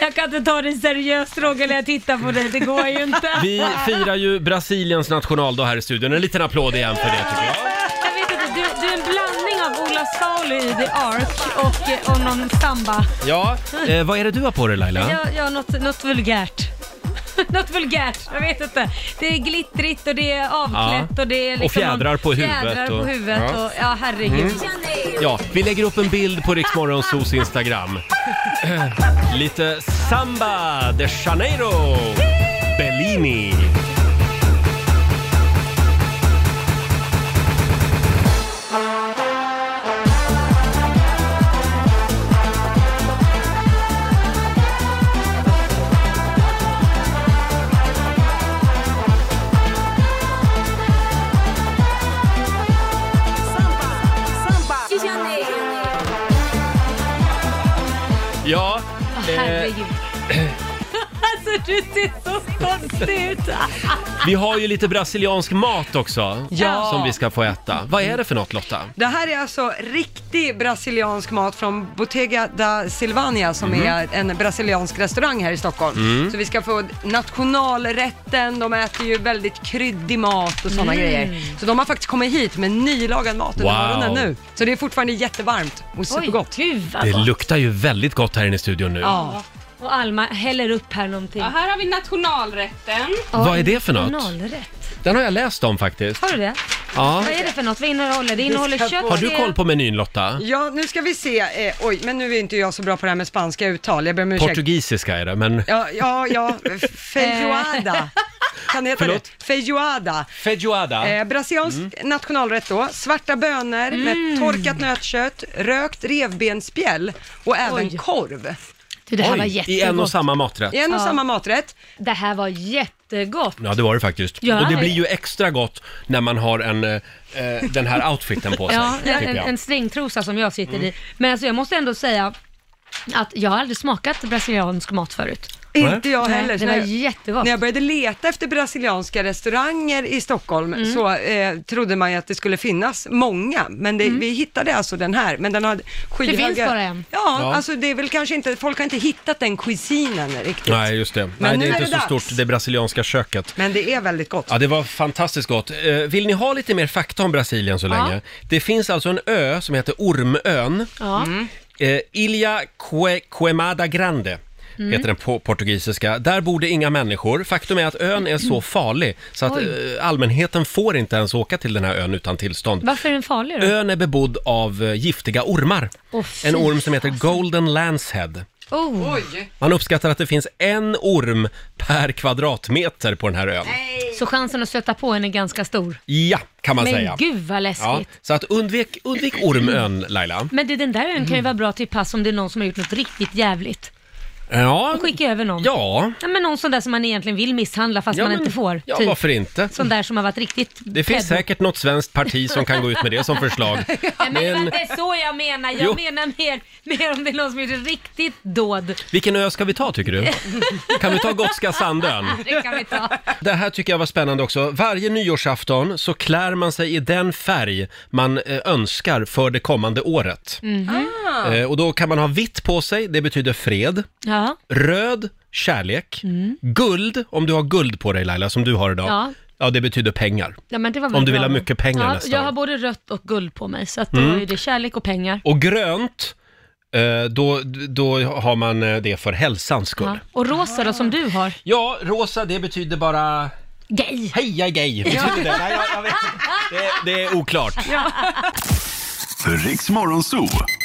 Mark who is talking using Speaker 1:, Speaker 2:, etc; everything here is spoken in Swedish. Speaker 1: Jag kan inte ta dig seriöst Roger när jag tittar på dig, det går ju inte.
Speaker 2: Vi firar ju Brasiliens nationaldag här i studion. En liten applåd igen för det tycker jag.
Speaker 1: Jag vet inte, du, du är en blandning av Ola Salo i The Ark och, eh, och någon samba.
Speaker 2: Ja, eh, vad är det du har på dig Laila?
Speaker 1: Ja, ja något, något vulgärt. något vulgärt, jag vet inte. Det är glittrigt och det är avklätt
Speaker 2: Ja.
Speaker 1: och det är
Speaker 2: Och
Speaker 1: liksom
Speaker 2: fjädrar på huvudet
Speaker 1: Fjädrar
Speaker 2: och-
Speaker 1: på huvudet
Speaker 2: Ja. Mm.
Speaker 1: och, ja herregud.
Speaker 2: Ja, vi lägger upp en bild på Riksmorgonsos Instagram. Eh, Lite samba de Janeiro, Bellini. Ja, eh,
Speaker 1: Herregud. alltså du ser så konstig ut.
Speaker 2: vi har ju lite brasiliansk mat också
Speaker 3: Ja.
Speaker 2: som vi ska få äta. Vad är det för något Lotta?
Speaker 3: Det här är alltså riktig brasiliansk mat från Bottega da Silvania som
Speaker 2: Mhm.
Speaker 3: är en brasiliansk restaurang här i Stockholm.
Speaker 2: Mm.
Speaker 3: Så vi ska få nationalrätten, de äter ju väldigt kryddig mat och sådana grejer. Så de har faktiskt kommit hit med nylagad mat under
Speaker 2: Mm. Wow.
Speaker 3: morgonen nu. Så det är fortfarande jättevarmt och
Speaker 1: Oj,
Speaker 3: supergott.
Speaker 1: gud vad
Speaker 2: Det
Speaker 1: gott.
Speaker 2: luktar ju väldigt gott här inne i studion nu.
Speaker 3: Ja.
Speaker 1: Och Alma häller upp här någonting.
Speaker 4: Ja, här har vi nationalrätten.
Speaker 2: Vad är det för något?
Speaker 1: Nationalrätt.
Speaker 2: Den har jag läst om faktiskt.
Speaker 1: Har du det?
Speaker 2: Ja.
Speaker 1: Vad är det för något? Vad innehåller det? innehåller
Speaker 3: ska
Speaker 1: kött.
Speaker 3: få-
Speaker 2: Har du koll på menyn Lotta?
Speaker 3: Ja, nu ska vi se. Eh, oj, men nu är inte jag så bra på det här med spanska uttal. Jag ber om ursäkt.
Speaker 2: Portugisiska är det, men...
Speaker 3: Ja, ja, ja. Feijoada. Kan det heta
Speaker 2: Förlåt?
Speaker 3: det? Feijoada.
Speaker 2: Feijoada.
Speaker 3: Eh, brasiliansk
Speaker 2: Mm.
Speaker 3: nationalrätt då, svarta bönor
Speaker 1: Mm.
Speaker 3: med torkat nötkött, rökt revbensspjäll och även
Speaker 1: Oj.
Speaker 3: korv.
Speaker 1: Du, det här var
Speaker 2: Oj, i en och
Speaker 1: jättegott.
Speaker 2: samma maträtt.
Speaker 3: I en och
Speaker 1: Ja.
Speaker 3: samma maträtt.
Speaker 1: Det här var jättegott.
Speaker 2: Ja, det var det faktiskt.
Speaker 1: Ja,
Speaker 2: och det
Speaker 1: det-
Speaker 2: blir ju extra gott när man har en, eh, eh, den här outfiten på sig.
Speaker 1: Ja,
Speaker 2: tycker
Speaker 1: en,
Speaker 2: jag. Mm.
Speaker 1: en stringtrosa som jag sitter i. Men alltså jag måste ändå säga att jag har aldrig smakat brasiliansk mat förut.
Speaker 3: Inte jag
Speaker 1: Nej,
Speaker 3: heller.
Speaker 1: det
Speaker 3: Så när
Speaker 1: var
Speaker 3: jag-
Speaker 1: jättegott.
Speaker 3: När jag började leta efter brasilianska restauranger i Stockholm
Speaker 1: Mm.
Speaker 3: så eh, trodde man ju att det skulle finnas många, men det, vi hittade alltså den här. Men den har skyhöga...
Speaker 1: Mm. finns bara en.
Speaker 3: Ja,
Speaker 2: Ja.
Speaker 3: alltså det är väl kanske inte, folk har inte hittat den cuisinen riktigt.
Speaker 2: Nej, just det. Nej, det
Speaker 3: nu
Speaker 2: är
Speaker 3: är
Speaker 2: inte
Speaker 3: det
Speaker 2: så
Speaker 3: dags.
Speaker 2: stort, det brasilianska köket.
Speaker 3: Men det är väldigt gott.
Speaker 2: Ja, det var fantastiskt gott. Eh, Vill ni ha lite mer fakta om Brasilien så
Speaker 1: Ja.
Speaker 2: länge? Det finns alltså en ö som heter Ormön.
Speaker 1: Ja.
Speaker 2: Eh, Ilha Que, Quemada Grande
Speaker 1: Mm.
Speaker 2: heter den på portugisiska. Där bor det inga människor. Faktum är att ön är så farlig så att
Speaker 1: Mm. Oj.
Speaker 2: eh, allmänheten får inte ens åka till den här ön utan tillstånd.
Speaker 1: Varför är den farlig då?
Speaker 2: Ön är bebodd av eh, giftiga ormar.
Speaker 1: Åh, fy
Speaker 2: en orm som heter Golden Lancehead.
Speaker 1: Oh,
Speaker 3: Oj!
Speaker 2: Man uppskattar att det finns en orm per kvadratmeter på den här ön.
Speaker 1: så chansen att stöta på en är ganska stor.
Speaker 2: Ja, kan man
Speaker 1: Men
Speaker 2: säga.
Speaker 1: gud vad
Speaker 2: Ja,
Speaker 1: läskigt.
Speaker 2: så att undvik, undvik ormön, Laila.
Speaker 1: Men du, den där ön kan ju vara bra till pass om det är någon som har gjort något riktigt jävligt.
Speaker 2: Mm. Ja,
Speaker 1: Skicka över någon.
Speaker 2: ja.
Speaker 1: Ja, men någon sån där som man egentligen vill misshandla fast
Speaker 2: ja
Speaker 1: man
Speaker 2: men-
Speaker 1: inte får.
Speaker 2: Ja,
Speaker 1: typ.
Speaker 2: varför inte?
Speaker 1: Sån där som har varit riktigt
Speaker 2: Det finns
Speaker 1: peddo.
Speaker 2: säkert något svenskt parti som kan gå ut med det som förslag.
Speaker 1: Nej, men det var
Speaker 2: Men
Speaker 1: inte så jag menar. Jag
Speaker 2: Jo.
Speaker 1: menar mer, mer om det är någon som gjort ett riktigt dåd.
Speaker 2: vilken ö ska vi ta tycker du? Kan vi ta Gotska Sandön?
Speaker 1: Det kan vi ta.
Speaker 2: Det här tycker jag var spännande också. Varje nyårsafton så klär man sig i den färg man eh, önskar för det kommande året. Eh, och då kan man ha vitt på sig, det betyder fred.
Speaker 1: Ja,
Speaker 2: Röd, kärlek. Guld, om du har guld på dig Laila, som du har idag. Mm. Ja,
Speaker 1: Ja.
Speaker 2: det betyder pengar.
Speaker 1: ja men det var väl
Speaker 2: Om du vill
Speaker 1: bra.
Speaker 2: ha mycket pengar
Speaker 1: ja,
Speaker 2: nästa
Speaker 1: Jag
Speaker 2: år. Mm.
Speaker 1: har både rött och guld på mig, så att då är det kärlek och pengar.
Speaker 2: Och grönt, eh, då, då har man eh, det för hälsans skull.
Speaker 1: Ja. Och rosa då, som du har.
Speaker 2: Ja, rosa det betyder bara
Speaker 1: Gay!
Speaker 2: heja gay. Betyder det? Nej, jag, jag vet inte. Det, det är oklart.
Speaker 5: Riks Morgonzoo.